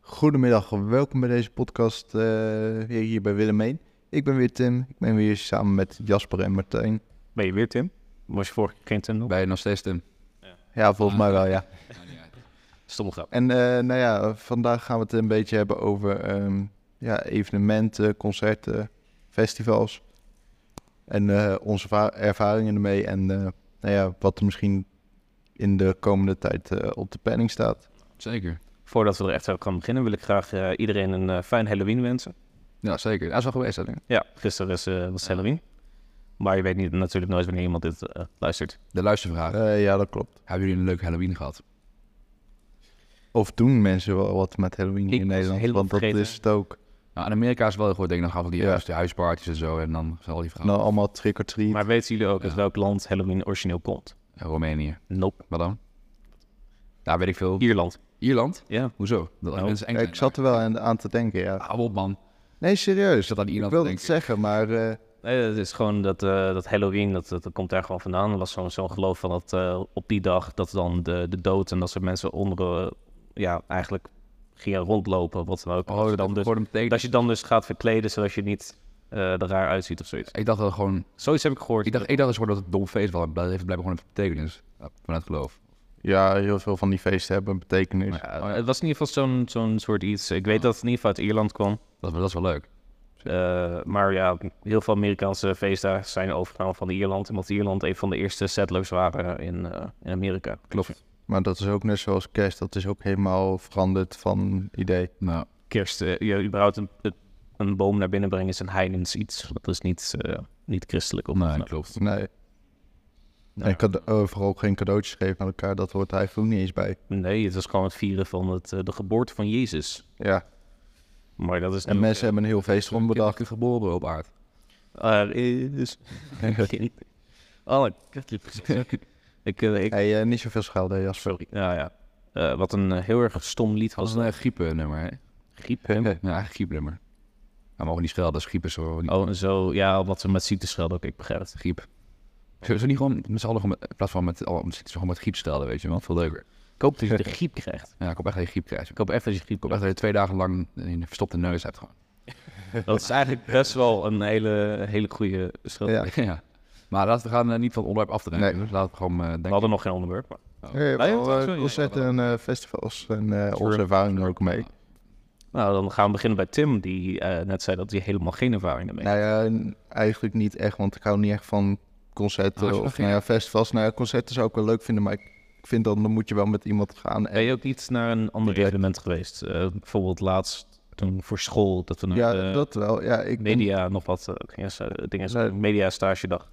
Goedemiddag, welkom bij deze podcast eh, weer hier bij Willemijn. Ik ben weer Tim, ik ben weer samen met Jasper en Martijn. Ben je weer Tim? Was je vorige keer geen Tim nog? Ben je nog steeds Tim? Ja, volgens Ah. mij wel, ja. Stomme grap. En eh, nou ja, vandaag gaan we het een beetje hebben over ehm, ja, evenementen, concerten, festivals. En eh, onze va- ervaringen ermee en eh, nou ja, wat er misschien in de komende tijd eh, op de planning staat. Zeker. Voordat we er echt over gaan beginnen, wil ik graag eh, iedereen een eh, fijn Halloween wensen. Ja, zeker. Dat is wel geweest, hè? denk ik. Ja, gisteren is, eh, was Halloween. Maar je weet niet, natuurlijk nooit wanneer iemand dit eh, luistert. De luistervraag. Eh, ja, dat klopt. Hebben jullie een leuke Halloween gehad? Of doen mensen wel wat met Halloween Ik in was Nederland? helemaal Want dat vergeten. is het ook. Nou, in Amerika is wel heel goed, denk ik. Dan gaan we die Ja. juiste huisparties en zo. En dan zijn al die vrouwen. Nou, allemaal trick-or-treat. Oh. Maar weten jullie ook uit Ja. welk land Halloween origineel komt? Roemenië. Nope. Wat dan? Daar weet ik veel. Ierland. Ierland? Ja. Hoezo? Dat Nou, mensen eng Ja, zijn ik zat er wel aan, aan te denken, ja. daar. Hou op, man. Nee, Ik serieus. zat aan Ik Ierland te wilde het denken. zeggen, maar eh, Nee, het is gewoon dat, eh, dat Halloween, dat, dat, dat komt daar gewoon vandaan. Er was zo'n zo'n geloof van dat eh, op die dag dat dan de, de dood en dat soort mensen onder, eh, ja, eigenlijk gingen rondlopen, wat dan ook. Oh, dat dan dus, wordt een betekenis. dat je dan dus gaat verkleden zodat je niet eh er raar uitziet of zoiets. Ik dacht dat het gewoon... Zoiets heb ik gehoord. Ik dacht, ik dacht dus gewoon dat het dom feest was. maar Dat heeft blijkbaar gewoon een betekenis. Ja, Vanuit geloof. ja, heel veel van die feesten hebben betekenis. Maar ja, Ja, Het was in ieder geval zo'n zo'n soort iets. Ik weet dat het in ieder geval uit Ierland kwam. dat, is- dat is wel leuk. Eh, maar ja, heel veel Amerikaanse feestdagen zijn overgenomen van Ierland. Omdat Ierland een van de eerste settlers waren in, eh, in Amerika. Klopt. Maar dat is ook net zoals kerst, dat is ook helemaal veranderd van idee. Nou, kerst, eh, je überhaupt een, een boom naar binnen brengen is een heidens iets. Dat is niet, eh, niet christelijk. Op nee, klopt. Nee. Nou. En cade- eh, vooral ook geen cadeautjes geven aan elkaar, dat hoort er eigenlijk ook niet eens bij. nee, het is gewoon het vieren van het, eh, de geboorte van Jezus. Ja, Maar dat is en mensen hebben een heel feest rond bedacht. Kinderen geboren op aard. Ah, Er is... oh, ik... ik, eh, ik Hey, eh, niet zoveel schelden, Jasper. sorry. Ja, ja. Eh, wat een eh, heel erg stom lied Dat was. is een griepen nummer, hè? Griep. Ja, eigenlijk griepenummer. Maar mogen niet schelden, dat is griepen zo. Oh, en zo. Ja, wat ze met ziekte schelden ook. Ik begrijp het. griep. Zullen ze niet gewoon met z'n allen gewoon met, in plaats van met, oh, met, gewoon met griep stelden, weet je wel? Veel leuker. Ik hoop dat je de griep krijgt. Ja, ik hoop echt dat je griep krijgt. Ik Ik hoop echt dat je griep hoop echt dat je twee dagen lang een verstopte neus hebt gewoon. krijgt. Dat is eigenlijk best wel een hele, hele goede schuld. Ja. ja. Maar laten we gaan eh, niet van het onderwerp af te denken. Nee. Dus laten we gewoon eh, We denken. hadden nog geen onderwerp. Maar... Hey, Nee, wel, dat is eh, wel- concerten en eh, festivals en eh, onze Sure. ervaringen er ook mee. Nou, dan gaan we beginnen bij Tim, die eh, net zei dat hij helemaal geen ervaring ermee Nou ja, n- eigenlijk niet echt, want ik hou niet echt van concerten Oh, Ah, als je of dat nou ja, festivals. Nou ja, concerten zou ik wel leuk vinden, maar ik ik vind dan, dan moet je wel met iemand gaan. Ben En, je ook niet naar een ander Direct. evenement geweest? Eh, bijvoorbeeld laatst toen voor school, dat we naar ja, de dat wel. Ja, ik, Nou, eh, media nog wat eh, gingen s- eh, dingen, Nee. media stage dag.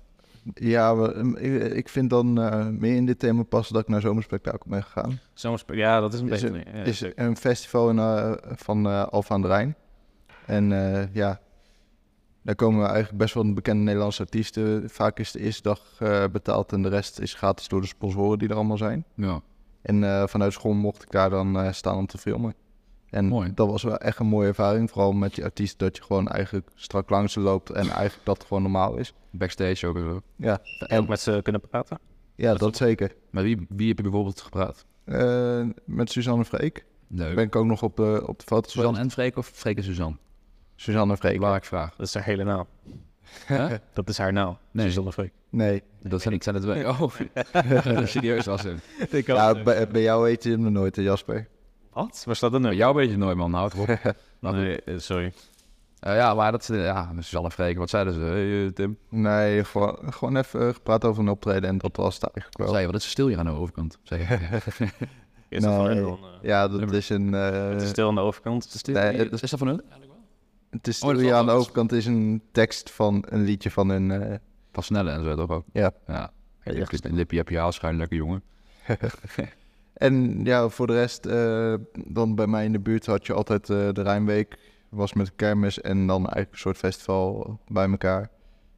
ja we- ehm, ik, ik vind dan eh, meer in dit thema passen dat ik naar zomerspectakel ben gegaan. Zomers, ja, dat is een Is beetje. een- ja, is zeker. een festival in, eh, van eh Alfa aan de Rijn. En eh, ja, daar komen eigenlijk best wel bekende Nederlandse artiesten. Vaak is de eerste dag eh, betaald en de rest is gratis door de sponsoren die er allemaal zijn. Ja. En eh, vanuit school mocht ik daar dan eh, staan om te filmen. En Mooi. dat was wel echt een mooie ervaring. Vooral met die artiest dat je gewoon eigenlijk strak langs ze loopt en eigenlijk dat gewoon normaal is. Backstage ook en zo. Ja, En ook met ze kunnen praten. ja dat, zeker. Met wie, wie heb je bijvoorbeeld gepraat? Eh, met Suzanne Freek. Leuk. Ben ik ook nog op, eh, op de foto's. Suzanne en Freek of Freek en Suzanne? Suzanne Freek. Belangrijke vraag. Dat is haar hele naam. Huh? Dat is haar naam. Nee. Suzanne Freek. Nee. Dat zijn, zijn het twee. Oh, serieus was het. Ja, bij, bij jou heet je hem nog nooit, hè, Jasper. Wat? Waar staat dat Bij nou? jou weet je het nooit, man. Houd toch op. Nou, Nee, eh, sorry. Eh, ja, maar dat is... Ja, Suzanne en Freek. Wat zeiden ze? Hey, eh, Tim? Nee, gewoon, gewoon even eh, gepraat over een optreden en dat was het eigenlijk Wat wel. zei je? Wat is er stil hier aan de overkant? Zeg je. Is dat Nou, van hun eh, dan, eh, Ja, dat is een... eh, het is stil aan de overkant. Stil- Nee, het- is dat van hun? het is Oh, dat is hier wel- aan de overkant is een tekst van een liedje van een... eh, Van Snelle en zo toch ook? ja, Ja. Ja, Lipje, lipje heb je haalschuin, lekker jongen. En ja, voor de rest, eh, dan bij mij in de buurt had je altijd eh, de Rijnweek. Was met kermis en dan eigenlijk een soort festival bij elkaar.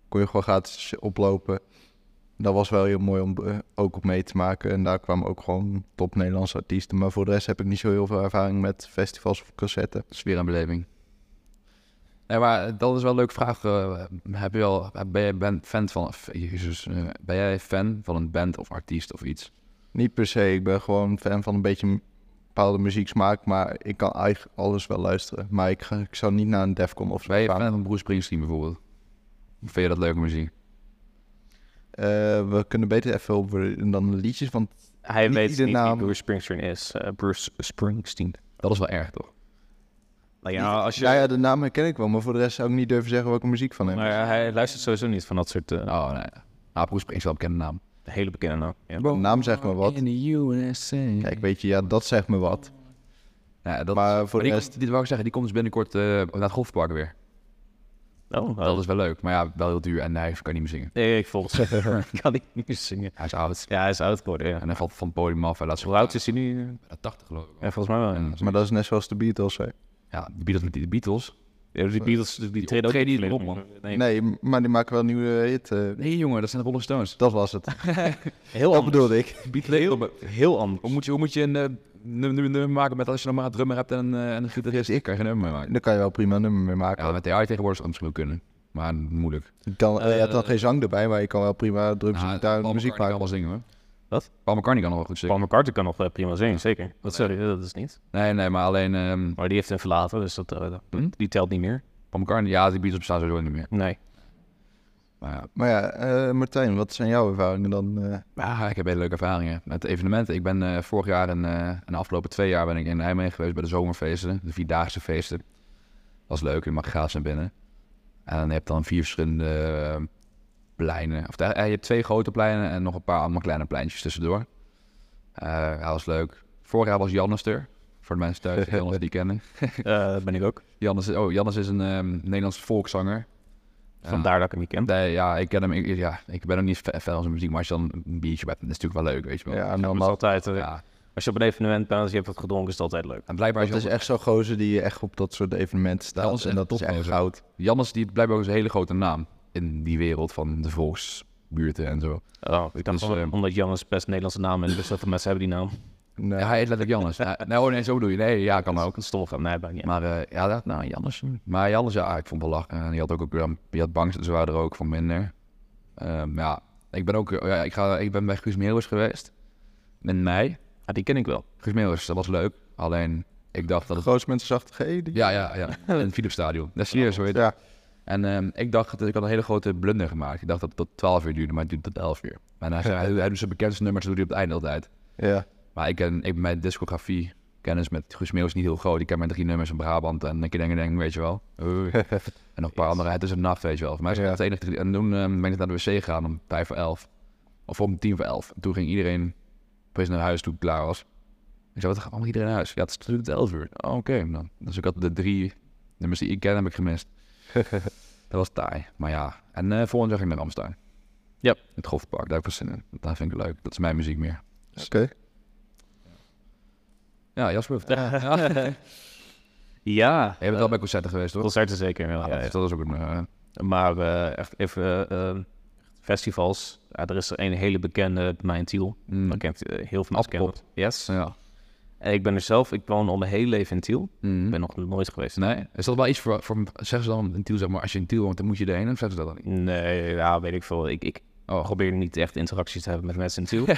Kon je gewoon gratis oplopen. Dat was wel heel mooi om eh, ook op mee te maken. En daar kwamen ook gewoon top Nederlandse artiesten. Maar voor de rest heb ik niet zo heel veel ervaring met festivals of concerten. Sfeer en beleving. Nee, maar dat is wel een leuke vraag. eh, heb je wel, ben jij ben, fan van, f- jezus, eh, ben jij fan van een band of artiest of iets? Niet per se, ik ben gewoon fan van een beetje m- bepaalde muzieksmaak, maar ik kan eigenlijk alles wel luisteren. Maar ik, ga, ik zou niet naar een Defcon of zo Ben je gaan. fan van Bruce Springsteen bijvoorbeeld? Vind je dat leuke muziek? Eh, we kunnen beter even op dan de liedjes, want Hij Niet weet iedere niet naam. wie Bruce Springsteen is. Eh, Bruce Springsteen. Dat is wel erg, toch? Nou ja, als je, ja, ja, de naam herken ik wel, maar voor de rest zou ik niet durven zeggen welke muziek van hem. maar Nou ja, hij luistert sowieso niet van dat soort eh, Oh, nee. Nou, Bruce Springsteen is wel een bekende naam. hele bekende naam. Ja. De naam zegt me wat. the USA. Kijk, weet je, ja, dat zegt me wat. Ja, dat maar Maar voor de die, rest, komt- dit wou ik zeggen, die komt dus binnenkort eh, naar het golfpark weer. Oh, Dat is wel leuk, maar ja, wel heel duur en hij kan niet meer zingen. Nee, ik volg het. Ik kan niet meer zingen. Hij is oud Ja, hij is oud geworden, ja. en hij valt van het podium af. Hij laat zich Hoe oud is hij nu? bijna 80 geloof ik. Ja, volgens mij wel. ja. maar dat is net zoals de Beatles, hè. Ja, de Beatles met die de Beatles. Ja, die Beatles die, treden ook optreden niet niet op, op, man. Nee, Nee, m- maar die maken wel een nieuwe hit. eh, Nee jongen, dat zijn de Rolling Stones. dat was het. heel Dat anders. bedoelde ik. Beatles. Heel, Heel anders. Hoe moet je, hoe moet je een eh, nummer, nummer maken met als je nog maar een drummer hebt en, eh, en een gitarist? Ik kan geen nummer meer maken. Daar kan je wel prima een nummer mee maken. Ja, met AI tegenwoordig zou het misschien wel kunnen. Maar moeilijk. Dan, je hebt dan Eh, geen zang erbij, maar je kan wel prima drums Nou, en daar Paul muziek McCartney maken. kan wel zingen hoor. Wat? Paul McCartney kan nog wel goed zingen. Paul McCartney kan nog eh, prima zingen, zeker. Wat sorry, dat is niet. Nee, nee, maar alleen ehm Maar die heeft hem verlaten, dus dat, eh, dat- Hm? die telt niet meer. Paul McCartney, ja, die Beatles bestaan sowieso niet meer. Nee. Maar ja, Maar ja, eh, Martijn, wat zijn jouw ervaringen dan? eh? Ja, Ah, ik heb hele leuke ervaringen met evenementen. Ik ben eh, vorig jaar en, eh, en de afgelopen twee jaar ben ik in Nijmegen geweest bij de zomerfeesten, de vierdaagse feesten. Dat is leuk, je mag gratis naar binnen. En dan heb je dan vier verschillende eh, pleinen. Of, eh, je hebt twee grote pleinen en nog een paar allemaal kleine pleintjes tussendoor. Eh, ja, dat was leuk. Vorig jaar was Jannes er. Voor de mensen thuis die Jannes die kennen. Eh, dat ben ik ook. Jannes is, oh, Jannes is een ehm, Nederlandse volkszanger. Eh, Vandaar dat ik hem niet ken. Nee, ja, ik ken hem. Ik, ja, ik ben ook niet fan van zijn muziek, maar als je dan een biertje hebt, dan is het natuurlijk wel leuk, weet je wel. ja, Dat is normaal. altijd, eh, Ja. Als je op een evenement bent en je hebt wat gedronken, is het altijd leuk. En blijkbaar is Het is echt zo'n gozer die echt op dat soort evenementen staat. Dat is en echt dat is echt topgozer. goud. Jannes die blijkbaar ook eens een hele grote naam in die wereld van de volksbuurten en zo. Oh, ik dacht Dus, wel, eh, omdat Jannes best een Nederlandse naam is, dus dat veel mensen hebben die naam. Nee. Ja, hij heet letterlijk Jannes. Ja, nou, oh nee, zo bedoel je. Nee, ja, kan ook. Ook een stomme grap. Nee, ben ik niet. Maar eh, ja, dat, nou, Jannes. Maar Jannes, ja, ik vond het wel lachen. En die had ook, ook um, die had bangs, dus waren er ook van minder. Ehm, ja, ik ben ook, eh, ja, ik, ga, ik ben bij Guus Meeuwis geweest. In mei. Ah, die ken ik wel. Guus Meeuwis, dat was leuk. Alleen, ik dacht dat het... Grootmensensachtige G. die- Ja, ja, ja. In het Philipsstadion. Dat is serieus, hoor. Ja. En ehm, ik dacht, dat ik had een hele grote blunder gemaakt. Ik dacht dat het tot 12 uur duurde, maar het duurde tot 11 uur. En hij, hij, hij doet zijn bekendste nummers doet hij op het einde altijd. ja. Maar ik, ken, ik mijn discografie kennis met Guus Meeuw is niet heel groot. Ik ken mijn drie nummers in Brabant en ik denk, denk weet je wel. Oei. en nog een paar andere. Het is een nacht, weet je wel. Voor mij is het Ja. het enige. drie- En toen ehm, ben ik naar de wc gegaan om 5 voor 11. Of om 10 voor 11. En toen ging iedereen precies naar huis toen ik klaar was. Ik zei, wat gaat allemaal iedereen naar huis? Ja, het is tot 11 uur. Oh, Oké, dan. Dus ik had de drie nummers die ik ken, heb ik gemist. dat was taai. Maar ja. En eh volgend jaar ging ik naar Amsterdam. Ja. Het Golfpark, daar heb ik wel zin in. Dat vind ik leuk. Dat is mijn muziek meer. Oké. Ja, Jasper. Ja. Je bent wel bij concerten geweest, toch? Concerten zeker. Ja, ja, ja. Dat is ook een... eh, Maar eh, echt even eh, eh, festivals. Ja, er is er een hele bekende bij mij in Tiel. mm, Dan kent eh, heel veel mensen kennen Appelpop. dat. Yes. Ja. En ik ben er zelf, ik woon al mijn hele leven in Tiel. Mm. Ik ben nog nooit geweest. Nee? Is dat wel iets voor... voor zeggen ze dan in Tiel, zeg maar, als je in Tiel woont, dan moet je erheen? Of zeggen ze dat dan niet? Nee, ja, weet ik veel. Ik, ik Oh, probeer niet echt interacties te hebben met mensen in Tiel.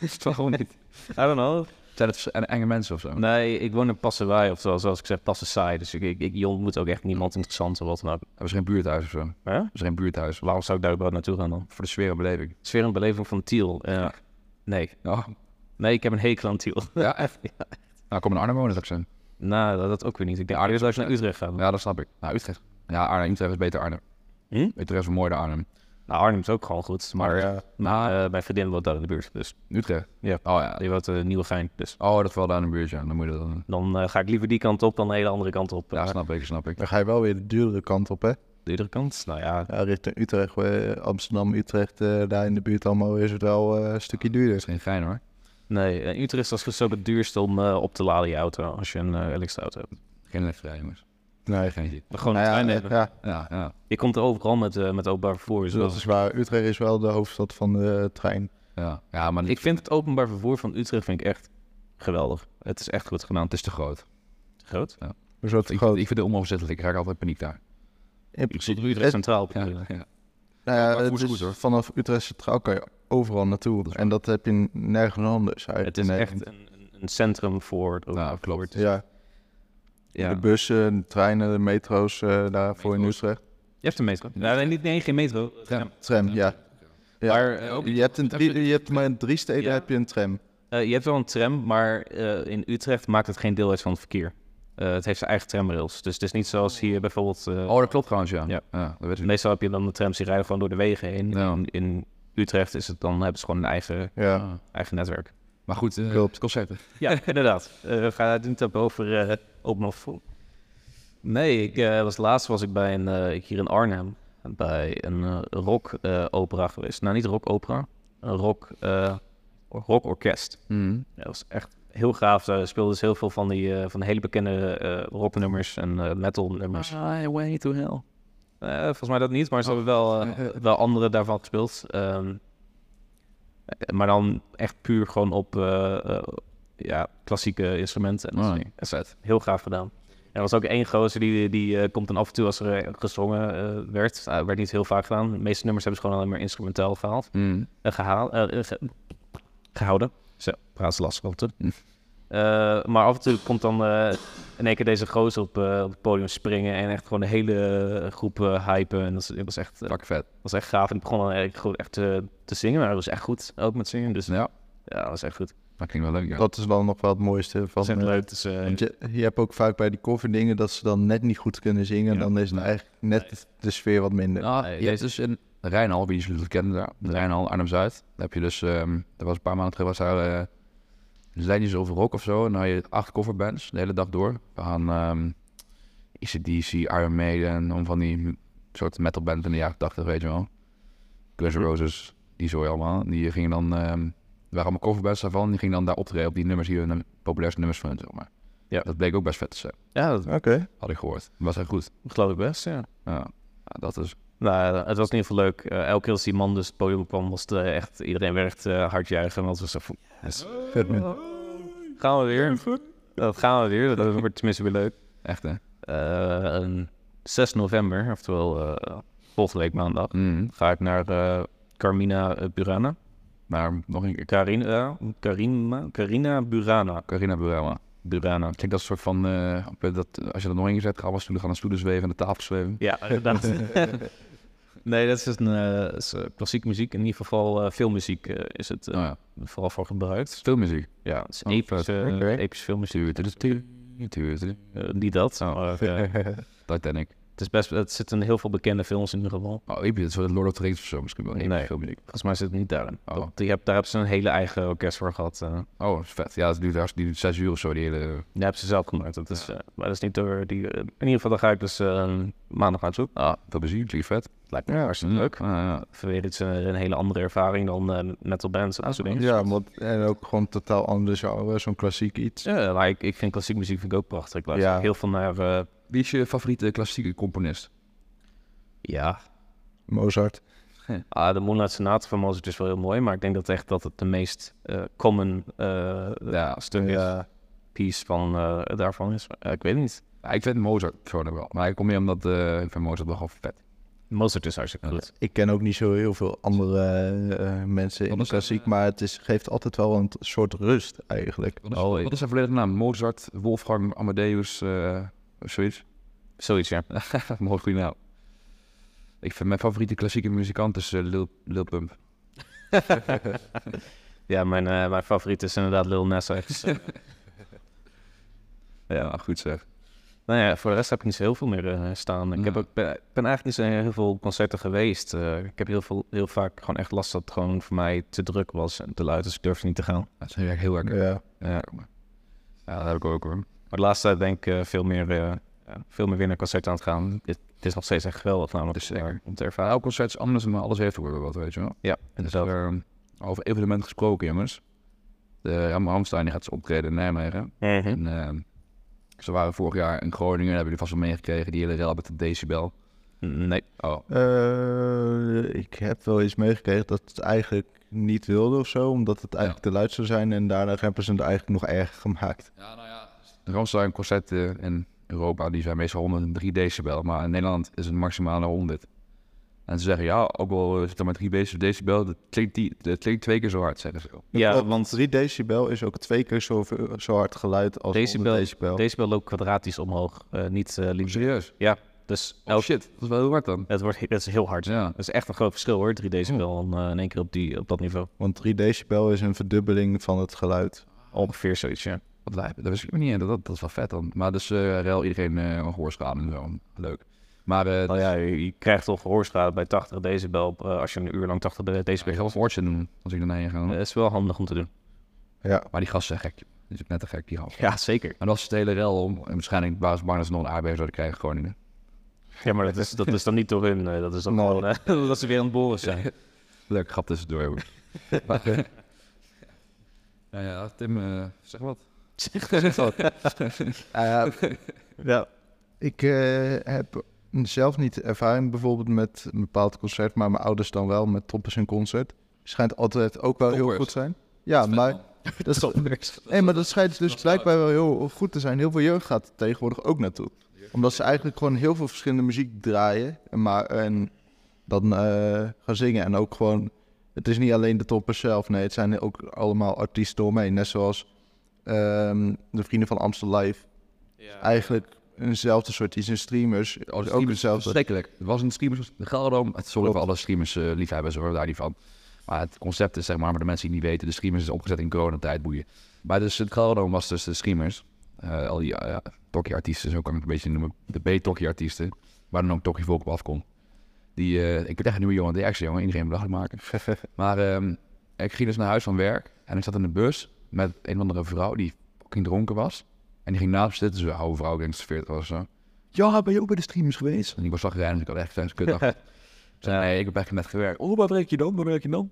is het wel gewoon niet. I don't know. Zijn het vers- en- enge mensen of zo? Nee, ik woon in Passenwaai of zo, zoals ik zeg, Passensaai. Dus ik, ik, ik, je ontmoet ook echt niemand interessant of wat dan ook. Hebben ze geen buurthuis of zo? Hebben Hè? ze geen buurthuis? Waarom zou ik daar überhaupt naartoe gaan dan? Voor de sfeer en beleving. Sfeer en beleving van Tiel. eh, nee. Ja. nee, ik heb een hekel aan Tiel. Ja, echt. Nou, kom in Arnhem wonen, dat ik zijn. nou, dat, dat ook weer niet. Ik denk Ja, eerst dat ik naar Utrecht ga. Ja, dat snap ik. Nou, Utrecht. Ja, Arnhem. Utrecht is beter Arnhem. Hm? Utrecht is wel mooier dan Arnhem. Nou, Arnhem is ook gewoon goed. Maar, Maar ja, maar, eh, mijn vriendin woont daar in de buurt. Dus Utrecht? Ja. Oh ja. die woont eh, Nieuwegein. Dus Oh, dat valt aan een buurt, ja. Dan moet je dat dan... dan eh, ga ik liever die kant op dan de hele andere kant op. Ja, snap ik, snap ik. dan ga je wel weer de duurdere kant op, hè? de andere kant? Nou ja, Ja, richting Utrecht, eh, Amsterdam, Utrecht, eh, daar in de buurt allemaal is het wel eh, een stukje Dat duurder. is geen gein, hoor. nee. eh, Utrecht is dus ook het duurste om eh, op te laden je auto. Als je een eh, elektrische auto hebt. Geen elektra, jongens. Nee, Geen zin. Gewoon Nou ja, trein eh, hebben. ja, Ja, ja. Je komt er overal met, eh, met openbaar vervoer. Dus dat is waar. Utrecht is wel de hoofdstad van de eh, trein. Ja, ja maar Ik vind het openbaar vervoer van Utrecht vind ik echt geweldig. Het is echt goed gedaan. het is te groot. Groot. Dus wat Ik, groot. ik vind het onoverzichtelijk. Ik raak altijd in paniek daar. In Ik principe- zit Utrecht centraal. Ja, Ja. ja. Nou ja, maar het goed, is goed, hoor. vanaf Utrecht Centraal kan je overal naartoe. en dat heb je nergens anders uit. Het is Nee. echt een, een, een centrum voor. de- Nou, klopt. Ja, ja. de bussen, de treinen, de metro's eh daarvoor in Metro's. Utrecht. Je hebt een metro. Nou, nee, niet, nee, geen metro. Tram. Tram. Tram, ja. Ja. Maar Eh, eh, ook- Je hebt, een drie, je hebt maar in drie steden Ja. heb je een tram. eh, je hebt wel een tram, maar eh, in Utrecht maakt het geen deel uit van het verkeer. Eh, het heeft zijn eigen tramrails. Dus het is niet zoals hier bijvoorbeeld. eh, Oh, dat klopt trouwens, ja. Ja. dat weet ik niet. meestal heb je dan de trams die rijden gewoon door de wegen heen. Ja. In, in Utrecht is het dan hebben ze gewoon een eigen, Ja. Ah. eigen netwerk. Maar goed, eh, Klopt. concepten. Ja, inderdaad. Eh, we gaan het niet hebben over eh open of vol. Nee, ik, eh, was, laatst was ik bij een, eh, hier in Arnhem bij een eh, rock rockopera geweest. Nou, niet rockopera, een rock, eh, rockorkest. Mm. Ja, Dat was echt heel gaaf. Daar speelden dus heel veel van die eh, van hele bekende eh, rocknummers en eh metal nummers. Highway Ah, to hell. Oh. Eh, volgens mij dat niet, maar ze hebben wel, eh, wel andere daarvan gespeeld. Ehm, eh, maar dan echt puur gewoon op eh, eh, ja, klassieke instrumenten. En Ah. dat soort dingen. is vet. Heel gaaf gedaan. Er was ook één gozer die, die eh, komt dan af en toe als er eh, gezongen eh, werd. Nou, werd niet heel vaak gedaan. De meeste nummers hebben ze gewoon alleen maar instrumentaal gehaald Mm. eh, gehaal, eh, eh, ge- gehouden. Zo, praat ze lastig altijd. Hm. Eh, maar af en toe komt dan eh, in één keer deze gozer op, eh, op het podium springen en echt gewoon de hele eh, groep eh, hypen. En dat is- dat was, echt, eh, Fuck vet. was echt gaaf. En ik begon dan eigenlijk gewoon echt eh, te zingen, maar dat was echt goed. Ook met zingen, dus Ja, ja, dat was echt goed. dat klinkt wel leuk, ja. Dat is dan nog wel het mooiste van. Dat is echt eh, leuk. Dus, eh, want je, je hebt ook vaak bij die coverdingen dat ze dan net niet goed kunnen zingen. Ja. Dan is het eigenlijk net de sfeer wat minder. Nou, Nee, je hebt dus in Rijnhal, wie dus jullie het kennen daar, de Rijnhal, Arnhem-Zuid. Daar heb je dus, ehm er was een paar maanden terug, was daar, eh lijntjes over rock of zo. En dan had je acht coverbands de hele dag door. Van ehm ECDC, Iron Maiden, om van die soort metalbands in de jaren 80, weet je wel. Guns N' Roses, die zooi allemaal. Die gingen dan, ehm er waren allemaal coverbands daarvan. Die gingen dan daar optreden op die nummers, die hun eh, populairste nummers van hun, zeg maar. Ja. Dat bleek ook best vet te zijn, ja, dat Oké. had ik gehoord. Was echt goed. geloof ik best, ja. Ja, dat is... Nou, het was in ieder geval leuk. Eh, elke keer als die man dus het podium kwam, was het eh, echt... Iedereen werd echt eh, hard juichen. En dat was zo van... yes. Vet man. Gaan we weer. Dat gaan we weer. Dat wordt tenminste weer leuk. Echt, hè? Eh, een 6 november, oftewel eh, volgende week maandag, Mhm. ga ik naar eh, Carmina eh, Burana. Maar nog een keer. Carina, Carina, Carina Burana. Carina Burama. Burana. Klinkt dat soort van, eh, op, eh, dat, als je dat nog een keer zet, gaan alle stoelen gaan aan stoelen zweven en de tafel zweven. Ja, inderdaad. nee, dat is, een, eh, dat is, eh, klassieke muziek. In ieder geval eh, filmmuziek eh, is het eh, Nou ja, vooral voor gebruikt. filmmuziek. Ja, het is eh, Oh, epische, vet. Oké. epische filmmuziek. Tuur, tuur, tuur, tuur, tuur, tuur. Eh, niet dat. Oh. maar, eh, Titanic. het, is best, het zit in heel veel bekende films in ieder geval. Oh, episch. Dat is wel Lord of the Rings of zo misschien wel. Episch Nee. filmmuziek. Volgens mij zit het niet daarin. Oh. Dat- die heb, daar hebben ze een hele eigen orkest voor gehad. eh. Oh, dat is vet. Ja, het duurt, hartst- die duurt zes uur of zo, die hele... Die hebben ze zelf gemaakt. Dat is, eh, maar dat is niet door die... eh, in ieder geval, daar ga ik dus eh, maandag naartoe. Ah, veel plezier. Klinkt vet. Lijkt me hartstikke leuk. Ah, ja. Verweer dit is eh, een, een hele andere ervaring dan eh, metal bands en dat soort dingen. Ja, want en ook gewoon totaal anders genre, zo'n klassiek iets. Ja, maar ik, ik vind klassiek muziek vind ik ook prachtig. Ik luister Ja. heel veel naar... eh, Wie is je favoriete klassieke componist? ja, Mozart. ah, de Moonlight Sonata van Mozart is wel heel mooi, maar ik denk dat echt dat het de meest eh, common eh, Ja, stuk piece van, eh, daarvan is. Eh, ik weet niet. Ja, ik vind Mozart persoonlijk wel. Maar ik kom meer omdat eh, ik vind Mozart wel gewoon vet. Mozart is hartstikke Ja, goed. Ik ken ook niet zo heel veel andere eh, eh, mensen in de Anders- klassiek, maar het is, geeft altijd wel een t- soort rust eigenlijk. Wat is, Oh, ik- wat is zijn volledige naam? Mozart, Wolfgang, Amadeus, eh, of zoiets? Zoiets, ja. Mooi goede naam. Ik vind mijn favoriete klassieke muzikant is eh, Lil, Lil Pump. Ja, mijn, eh, mijn favoriet is inderdaad Lil Nas X. Ja, goed zeg. Nou ja, voor de rest heb ik niet zo heel veel meer eh, staan. Ik heb Ja. ook, ben, ben eigenlijk niet zo heel veel concerten geweest. Eh, ik heb heel, veel, heel vaak gewoon echt last dat het gewoon voor mij te druk was en te luid, dus ik durfde niet te gaan. Dat is eigenlijk Nou, heel erg. Ja. Ja, maar- ja, dat heb ik ook hoor. Maar de laatste tijd ben ik eh, veel, meer, eh, ja, veel meer weer naar concerten aan het gaan. Het, het is nog steeds echt geweldig namelijk Het is Dus zeker. om te ervaren. Elk concert is anders, maar alles heeft ook wel wat, weet je wel. Ja, Dus, inderdaad. ehm, over evenement gesproken, jongens. De Ram- Ramstein die gaat ze optreden in Nijmegen. Mhm. En, ehm, ze waren vorig jaar in Groningen, daar hebben jullie vast wel meegekregen, die hele rel met de decibel. Nee. Oh, Eh, ik heb wel eens meegekregen dat het eigenlijk niet wilde of zo, omdat het eigenlijk te luid zou zijn en daarna hebben ze het eigenlijk nog erger gemaakt. Ja, nou ja. De Ramstein eh, concerten in Europa die zijn meestal 103 decibel, maar in Nederland is het maximaal naar 100. En ze zeggen, ja, ook al zit er maar 3 decibel, dat klinkt, die, dat klinkt twee keer zo hard, zeggen ze. Ja, Op want 3 decibel is ook twee keer zo, zo hard geluid als Decibel- 100 decibel. decibel loopt kwadratisch omhoog, eh, niet eh lineair. Serieus? Ja, dus Oh elk- shit, dat is wel heel hard dan. Dus het, wordt, het is heel hard. Ja. Dat is echt een groot verschil hoor, 3 decibel en, eh, in één keer op, die, op dat niveau. Want 3 decibel is een verdubbeling van het geluid. Ongeveer zoiets, ja. Wat lijp. Dat wist ik nog niet. hè. Dat, dat, dat is wel vet dan. Maar dus eh rel iedereen eh gehoorschade en zo. Leuk. Maar eh Nou ja, je, je krijgt al gehoorschade bij 80 decibel eh, als je een uur lang 80 de- ik decibel ga wel een oortje doen als ik ernaar heen ga. Dat is wel handig om te doen. Ja, Maar die gasten zijn gek. Die is ook net te gek, die gast. Ja, zeker. En dat is het hele rel om. En waarschijnlijk waren ze bang dat ze nog een aardbeving zouden krijgen in Groningen. Ja, maar dat is, dat is dan niet door hun. eh, Dat is dan Nee. gewoon eh, dat ze weer aan het boren zijn. Leuk, grap tussendoor. hoor. maar, eh, ja, ja, Tim, eh, zeg wat. Zeg wat. Eh, Ik eh, heb zelf niet ervaring bijvoorbeeld met een bepaald concert, maar mijn ouders dan wel met Toppers en Concert. Schijnt altijd ook wel heel Toppers. goed te zijn. Ja, maar dat, is, nee, maar dat schijnt dus blijkbaar wel heel goed te zijn. Heel veel jeugd gaat er tegenwoordig ook naartoe. Omdat ze eigenlijk gewoon heel veel verschillende muziek draaien en, maar, en dan eh, gaan zingen. En ook gewoon, het is niet alleen de toppers zelf, nee, het zijn ook allemaal artiesten omheen. Net zoals ehm, de Vrienden van Amstel Live eigenlijk eenzelfde soort iets. En streamers Oh, de ook streamers, hetzelfde. verschrikkelijk. Er was een streamers, de Gelderdoom. Het eh, sorry voor alle streamers eh, liefhebbers hoor, daar niet van. Maar het concept is zeg maar, voor de mensen die het niet weten, de streamers is opgezet in coronatijd, boeien. Maar dus het Gelderdoom was dus de streamers. Eh, al die eh, tokkie-artiesten, zo kan ik het een beetje noemen. De B-tokkie-artiesten, waar dan ook tokkie-volk op afkomt. Die, eh, ik werd echt een nieuwe jongen, die actie jongen, iedereen belachelijk maken. maar ehm, ik ging dus naar huis van werk en ik zat in de bus met een of andere vrouw die fucking dronken was. En die ging naast me zitten, zo'n oude vrouw, ik denk dat ze 40 was of zo. Ja, ben je ook bij de streamers geweest? En ik was zagrijnig, dus ik had echt een kut dag. Ik zei, nee, ik heb echt net gewerkt. Oh, waar werk je dan? Waar werk je dan?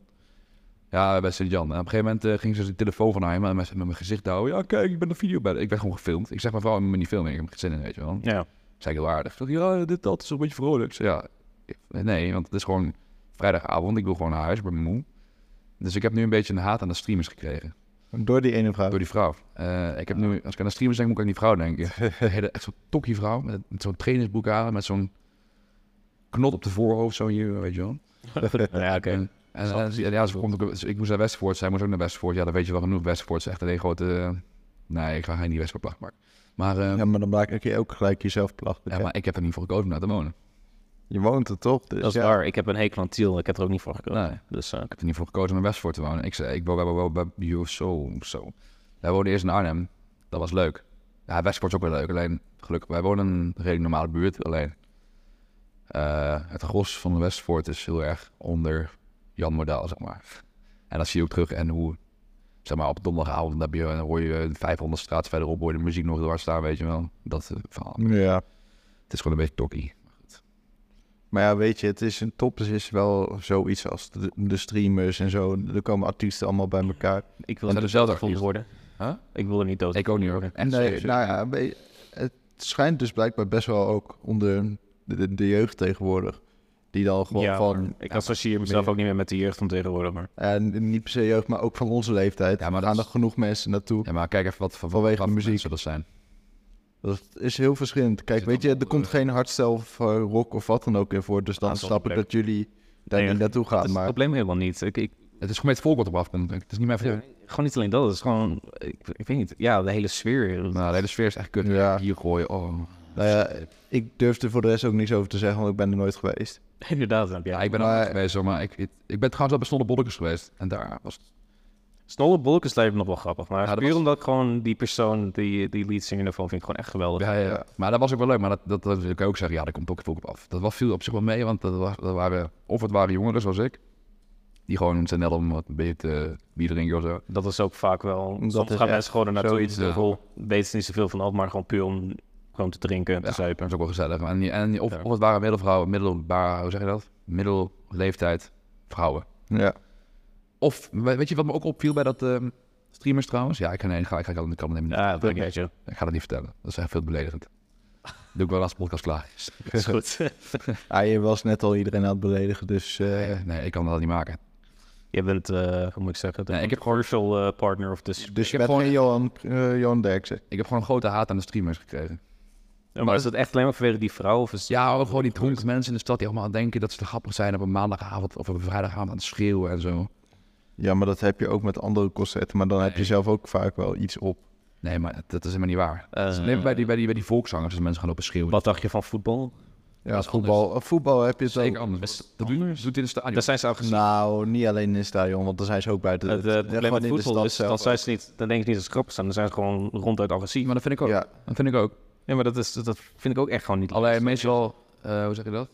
Ja, bij Sint-Jan. En op een gegeven moment eh, ging ze de telefoon van hem en met, met mijn gezicht houden. Ja, kijk, ik ben een video bij. Ik werd gewoon gefilmd. Ik zeg mijn vrouw, ik ben niet filmen, ik heb geen zin in, weet je wel. Ja. Zei ik heel aardig. Ik dacht, ja, dit, dat is een beetje vrolijk. Ik zei, ja, ik- nee, want het is gewoon vrijdagavond. Ik wil gewoon naar huis, ik ben moe. Dus ik heb nu een beetje een haat aan de streamers gekregen. Door die ene vrouw. Door die vrouw. Eh, ik heb nu, als ik aan de streamers denk, moet ik aan die vrouw denken. Een hele- Echt zo'n tokkie vrouw met, met zo'n trainingsboek aan, met zo'n knot op de voorhoofd, zo hier, weet je wel. Ja, oké. En, en, en- en ja, ze komt ook, ze- ik moest naar Westvoort, zij moest ook naar Westvoort. Ja, dat weet je wel genoeg. Westvoort is echt een grote... eh, nee, ik ga geen die Westvoort plakken maken. Maar, eh, Ja, maar dan maak ik je ook gelijk jezelf belachelijk. ja, hè? maar ik heb er niet voor gekozen om daar te wonen. Je woont er toch? Dus Dat is ja. waar. Ik heb een hekel aan Tiel. Ik heb er ook niet voor gekozen. Nee. Dus eh, Ik heb er niet voor gekozen om in Westvoort te wonen. Ik zei, ik woon bij, bij, bij, bij Yo, zo, zo. Wij woonden eerst in Arnhem. Dat was leuk. Ja, Westvoort is ook wel leuk. Alleen, gelukkig, wij wonen in een redelijk normale buurt. Alleen, eh, het gros van Westvoort is heel erg onder Jan Modaal, zeg maar. En dat zie je ook terug. En hoe, zeg maar, op donderdagavond, dan, heb je, dan hoor je eh, 500 straat verderop, hoor je de muziek nog door staan, weet je wel. Dat eh, verhaal. Ja. Het is gewoon een beetje tokkie. Maar ja, weet je, het is een toppers is wel zoiets als de, de streamers en zo. Er komen artiesten allemaal bij elkaar. ik dus wil Zijn er er zelfs doodgevonden worden. Huh? Ik wil er niet dood. Ik ook niet hoor. En eh, Nee, nou ja, weet je, het schijnt dus blijkbaar best wel ook onder de, de, de jeugd tegenwoordig. Die dan gewoon Ja, van, maar ik associeer mezelf meer- ook niet meer met de jeugd van tegenwoordig, maar... en niet per se jeugd, maar ook van onze leeftijd. Ja, maar gaan dat er is- genoeg mensen naartoe. Ja, maar kijk even wat voor Vanwege de wat voor muziek. mensen dat zijn. Dat is heel verschillend. Kijk, Zit weet je, allemaal, er komt eh, geen hardstel of eh, rock of wat dan ook in voor. Dus dan dat is wel snap ik leuk. dat jullie daar Nee, niet naartoe Dat gaan. is het Maar probleem helemaal niet. Ik, ik, Het is gewoon met het volk wat op afkomt. Het is niet meer voor. gewoon niet alleen dat. Het is gewoon... Ik, ik weet niet. Ja, de hele sfeer. Nou, de hele sfeer is echt kut. Ja. Hier gooien. Oh. nou ja, ik durf er voor de rest ook niks over te zeggen, want ik ben er nooit geweest. Inderdaad. Ja, Ja, ik ben er Maar- ook geweest, hoor, maar ik, ik, ik ben trouwens al bij Snolle Bollekes geweest. En daar was het. Snolle Bolkens lijkt me nog wel grappig, maar Ja, dat puur was- omdat ik gewoon die persoon, die, die lead singer daarvan, vind ik gewoon echt geweldig. Ja, ja, ja. Maar dat was ook wel leuk. Maar dat, dat, dat kan je ook zeggen. Ja, daar komt ook volk op af. Dat was, viel op zich wel mee, want dat, was- dat waren, of het waren jongeren zoals ik. Die gewoon zijn net om wat een beetje te bier drinken of zo. Dat is ook vaak wel. Dat soms is gaan echt mensen gewoon er naartoe. zoiets, Zoiets, ja. weten ze niet zoveel van af, maar gewoon puur om gewoon te drinken en te Ja, zuipen. Dat is ook wel gezellig. En, die- en die- of, Ja. of het waren middelvrouwen, middelbaar, hoe zeg je dat? Middelleeftijd vrouwen. Ja. Of, we- weet je wat me ook opviel bij dat ehm, streamers trouwens? Ja, ik ga, nee, ik ga, ik ga, ik ga, ik kan het niet- Ja, dat denk ik Ah, je. Ik ga dat niet vertellen. Dat is echt veel beledigend. Doe ik wel als de podcast klaar is. Dat is goed. Ah, je was net al iedereen aan het beledigen, dus... eh, Nee, ik kan dat niet maken. Je bent, eh, hoe moet ik zeggen, de Nee, ik heb- commercial eh, partner of dus. dus je heb bent gewoon- geen Johan, eh, Johan Derksen. Ik heb gewoon een grote haat aan de streamers gekregen. Ja, maar is dat echt alleen maar vanwege die vrouw? Of is... Ja, ook gewoon die dronken mensen in de stad die allemaal denken dat ze te grappig zijn op een maandagavond of op een vrijdagavond aan het schreeuwen en zo. Ja, maar dat heb je ook met andere concerten. Maar dan heb je zelf ook vaak wel iets op. Nee, maar dat is helemaal niet waar. Eh, Dat is alleen bij die, bij die, bij die volkszangers als mensen gaan lopen schreeuwen. Wat dacht je van voetbal? Ja, is voetbal, voetbal heb je het Zeker ook. anders. Dat doet- dat doet in de stadion. Daar zijn ze eigenlijk... Nou, niet alleen in het stadion, want dan zijn ze ook buiten. het, eh, ja, het probleem gewoon met in de voetbal stad is, dan zelf zijn ze niet, dan denk ik niet dat ze grappig zijn. Dan zijn ze gewoon ronduit agressief. Maar dat vind ik ook. Ja, Dat vind ik ook. Ja, maar dat, is, dat- dat vind ik ook echt gewoon niet Alleen meestal, eh, hoe zeg je dat?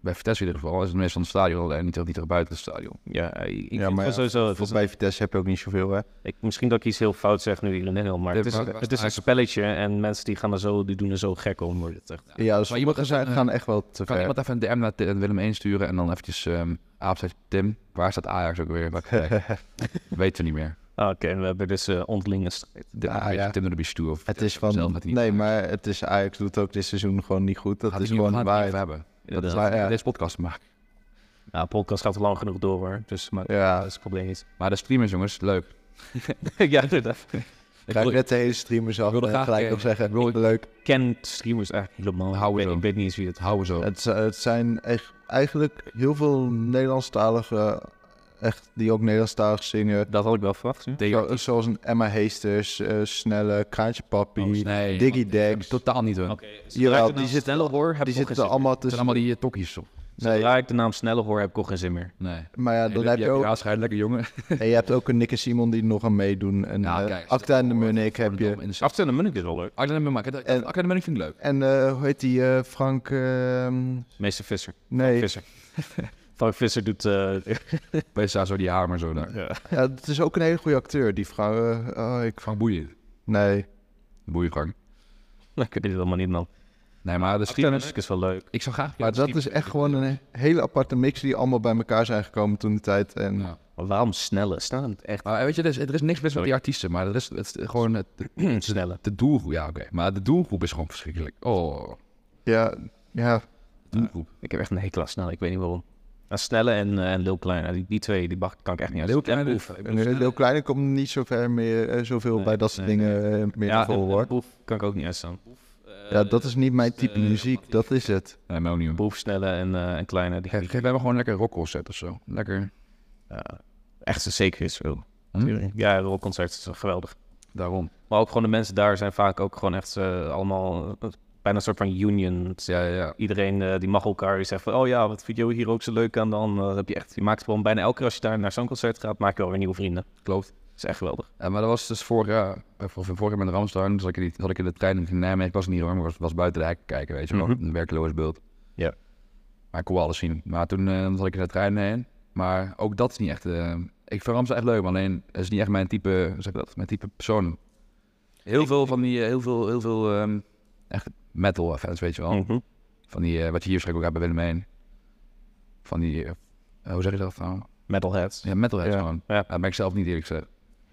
Bij Vitesse in ieder geval is het meestal in het stadion, alleen niet, niet tegen buiten het stadion. Ja, ik ik Ja, vind maar het wel sowieso... het is voor bij Vitesse heb je ook niet zoveel, hè? een- ik, misschien dat ik iets heel fout zeg nu hier en heel, maar Dit het is, was- was het is een eigenlijk- spelletje en mensen die, gaan er zo, die doen er zo gek om. wordt het echt. Ja, dus Maar iemand sommigen zijn, even- gaan echt wel te Kan ver. iemand even een DM naar Ti- Willem 1 sturen en dan eventjes ehm Aap zegt, Tim, waar staat Ajax ook weer? Welke plek?" Weten we niet meer. Ah, Oké, en we hebben dus eh, onderlinge strijd. De, Ah, weet je, ja. Tim de Bistour of Het is zelf van... met die- Nee, maar het is Ajax doet ook dit seizoen gewoon niet goed. Dat Gaat is hij niet- gewoon gaat hij niet waar. over hebben. Dat is Inderdaad. waar, ja. Deze podcast maken. Ja, podcast gaat al lang genoeg door hoor, dus maar, Ja, dat is het probleem niet. Maar de streamers, jongens, leuk. ja, inderdaad. ik ga ik net de hele streamers af wilde en graag- gelijk nog eh, zeggen. wil ik- Leuk. ken streamers eigenlijk helemaal. Hou ik, weet, zo. ik weet niet eens wie het. Het houden zo. Het, het zijn echt, eigenlijk heel veel Nederlandstaligen echt, die ook Nederlandstalig zingen. Dat had ik wel verwacht. hè? Tegen- Zo- zoals een Emma Heesters, eh, Snelle, Kraantje Papi, Oh, nee, eh, Diggy man, Dag. Totaal niet hun. Jawel, die zitten, sneller hoor, heb die ik ook geen zitten zin allemaal Het zijn tussen. allemaal die eh, tokkies, toch? meer. Nee, Zodra ik de naam sneller hoor, heb ik ook geen zin meer. Nee. maar ja, dan heb je ook... lekker jongen. En je hebt ook een Nick en Simon die er nog aan meedoen. En Ja, eh, kijk, Acta en de Munnik heb je. In de stad. Afstellen Munnik is dus wel leuk. Arlen en Munnik, dat- En- Arlen en Munnik vind ik leuk. En eh, hoe heet die? eh, Frank... ehm, Meester Visser. nee, Visser. Frank Visser doet... eh, PSA zo die hamer zo daar. ja, het is ook een hele goede acteur. Die vrouw... eh, oh, ik... Frank Boeien. Nee. Boeiengang. ik weet het allemaal niet man. Nee, maar de Acteur streamers... Munnik is wel leuk. Ik zou graag... Maar dat is echt gewoon een hele aparte mix die allemaal bij elkaar zijn gekomen toen de tijd. En Ja. Maar waarom sneller? Staan het echt Maar weet je, er is, er is niks mis met die artiesten, maar er is, het is gewoon... Het, sneller? de doelgroep, ja oké. Maar de doelgroep is gewoon verschrikkelijk. Oh, ja, ja, doelgroep. Ik heb echt een hekel aan snel, ik weet niet waarom. Aan snelle en, eh, en Lil Klein, die, die twee die mag, kan ik echt niet uit. Lil Klein En en- Boef. Ik een bedoel, heel kleine komt niet zo ver meer, eh, zoveel bij dat soort dingen eh, meer ja, te vol, en- en hoor. Boef kan ik ook niet uitstaan. Ja, dat is niet mijn type muziek, dat is het. Nee, mij ook niet. Boef, snelle en, eh, en kleine. Die, Geef, die, geef hebben gewoon lekker rockconcert of zo. Lekker. ja, echt zeker is wel. Hm? Ja, rockconcert is geweldig. Daarom. Maar ook gewoon de mensen daar zijn vaak ook gewoon echt eh, allemaal eh, bijna een soort van union. Het is- Ja, ja, ja. Iedereen eh, die mag elkaar. Die zegt van, oh ja, wat vind je hier ook zo leuk aan dan? eh, heb je, echt, je maakt gewoon bijna elke keer als je daar naar zo'n concert gaat, maak je wel weer nieuwe vrienden. Klopt. Dat is echt geweldig. Ja, maar dat was dus vorig jaar, of of vorig jaar met Ramstein, zat ik, in die- zat ik in de trein in Nijmegen, ik was niet hoor, maar was, was buiten de hek kijken, weet je wel, Mhm. een werkloos beeld. Ja. Maar ik kon wel alles zien. Maar toen eh, zat ik in de trein heen, maar ook dat is niet echt, eh, ik vind Ramstein echt leuk, maar alleen het is niet echt mijn type, hoe zeg ik dat, mijn type persoon. Heel veel van die, eh, heel veel, heel veel ehm, echt metal fans, weet je wel, Mhm. van die, eh, wat je hier waarschijnlijk ook hebt bij Willem heen. Van die, eh, hoe zeg je dat nou? Metalheads. Ja, metalheads Ja. gewoon. Ja. Ja. Dat ben ik zelf niet eerlijk gezegd.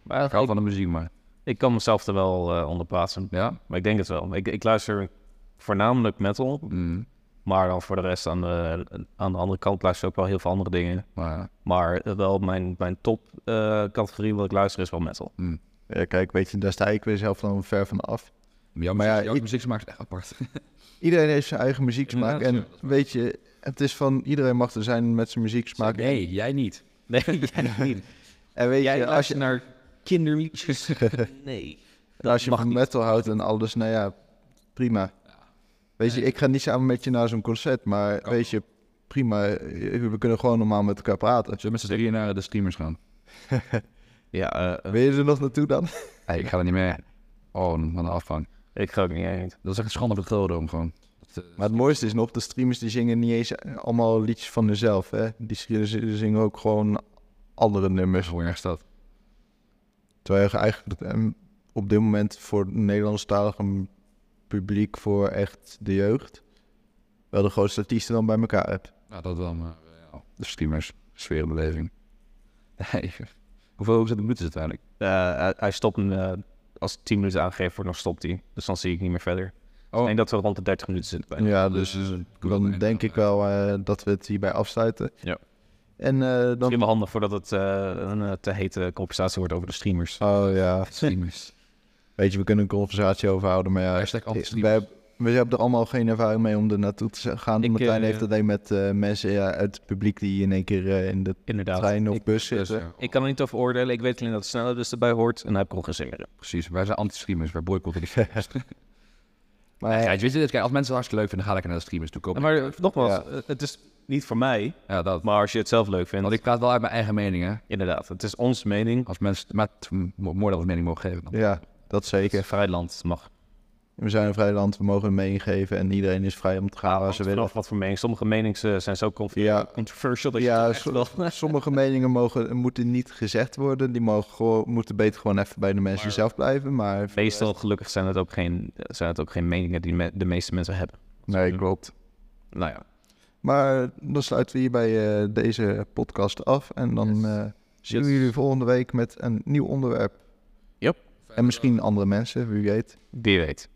Maar Ik hou ik, van de muziek, maar ik kan mezelf er wel eh, onder plaatsen. ja. Maar ik denk het wel. Ik, ik luister voornamelijk metal. Mm. Maar dan voor de rest aan de, aan de andere kant luister ik ook wel heel veel andere dingen. Maar ja. Maar eh, wel mijn, mijn top eh, categorie wat ik luister is wel metal. Ja, kijk, weet je, daar sta ik weer zelf dan ver van af. Ja, Maar maar ja, ja, ik- jouw muziek smaak is echt apart. Iedereen heeft zijn eigen muzieksmaak. Inderdaad, En ja, dat is waar. weet je, het is van iedereen mag er zijn met zijn muzieksmaak. Nee, jij niet. Nee, jij niet. En weet Jij je, als je, naar kinderliedjes. nee. als je van metal houdt en alles, nou ja, prima. Weet je, ik ga niet samen met je naar zo'n concert, maar weet je, prima. eh, We kunnen gewoon normaal met elkaar praten. Zullen we met z'n drieën naar de streamers gaan? Ja, eh, Wil je er nog naartoe dan? Hey, ik ga er niet mee. Oh, van de afvang. ik ga ook niet heen. Dat is echt een schande voor de Gelderdoom gewoon. Dat, eh, Maar het mooiste is nog, de streamers die zingen niet eens eh, allemaal liedjes van hunzelf. Hè? Die zingen- ze zingen ook gewoon andere nummers. Hoe erg is dat? Terwijl je eigenlijk dat, ehm, op dit moment voor het Nederlandstalige publiek, voor echt de jeugd, wel de grootste artiesten dan bij elkaar hebt. Nou, dat wel, maar eh, ja, de streamers. Sfeerbeleving. Nee. Hoeveel hoeveel minuten is het uiteindelijk? Eh, hij, hij stopt hem, eh, als 10 minuten aangegeven wordt, dan stopt hij. Dus dan zie ik niet meer verder. Oh. Ik denk dat we rond de 30 minuten zitten. bijna. Ja, dus dan bijna, denk ik wel eh, dat we het hierbij afsluiten. Ja. En eh, dan... Misschien wel handig voordat het eh, een eh, te hete conversatie wordt over de streamers. Oh ja, Streamers. weet je, we kunnen een conversatie overhouden, maar ja, Hashtag we, anti-streamers. hebben- we hebben er allemaal geen ervaring mee om er naartoe te gaan. Ik, Martijn eh, heeft alleen met eh, mensen ja, uit het publiek die in één keer eh, in de Inderdaad. trein of Ik- bus Dus, zitten. eh, Ik kan er niet over oordelen. Ik weet alleen dat de snelle dus erbij hoort. En dan heb ik nog gezegd. Precies, wij zijn anti-streamers, wij boycotten de streamers. Maar ja, ja, weet je, dit- kijk, als mensen het hartstikke leuk vinden, dan ga ik naar de streamers toe kopen. Maar nogmaals, Ja. eh, het is niet voor mij. Ja, dat. Maar als je het zelf leuk vindt. Want ik praat wel uit mijn eigen mening, hè. Inderdaad, het is onze mening. Als mensen, maar het- m- mooi dat we mening mogen geven. Dan. ja, dat zeker. Vrijland mag. We zijn een vrij land, we mogen meegeven en iedereen is vrij om te gaan waar ze willen. Vanaf wat voor mening. Sommige menings eh, zijn zo conf- Ja, controversial dat je ja echt so- wel... sommige meningen mogen, moeten niet gezegd worden. Die mogen gewoon, moeten beter gewoon even bij de mensen zelf blijven. Maar Meestal gelukkig zijn het ook geen, zijn het ook geen meningen die me- de meeste mensen hebben. nee, klopt. Nou ja, Maar dan sluiten we hierbij eh, deze podcast af. En dan Yes. eh, zien we Yes. jullie volgende week met een nieuw onderwerp. Yep. En misschien andere mensen, wie weet. wie weet.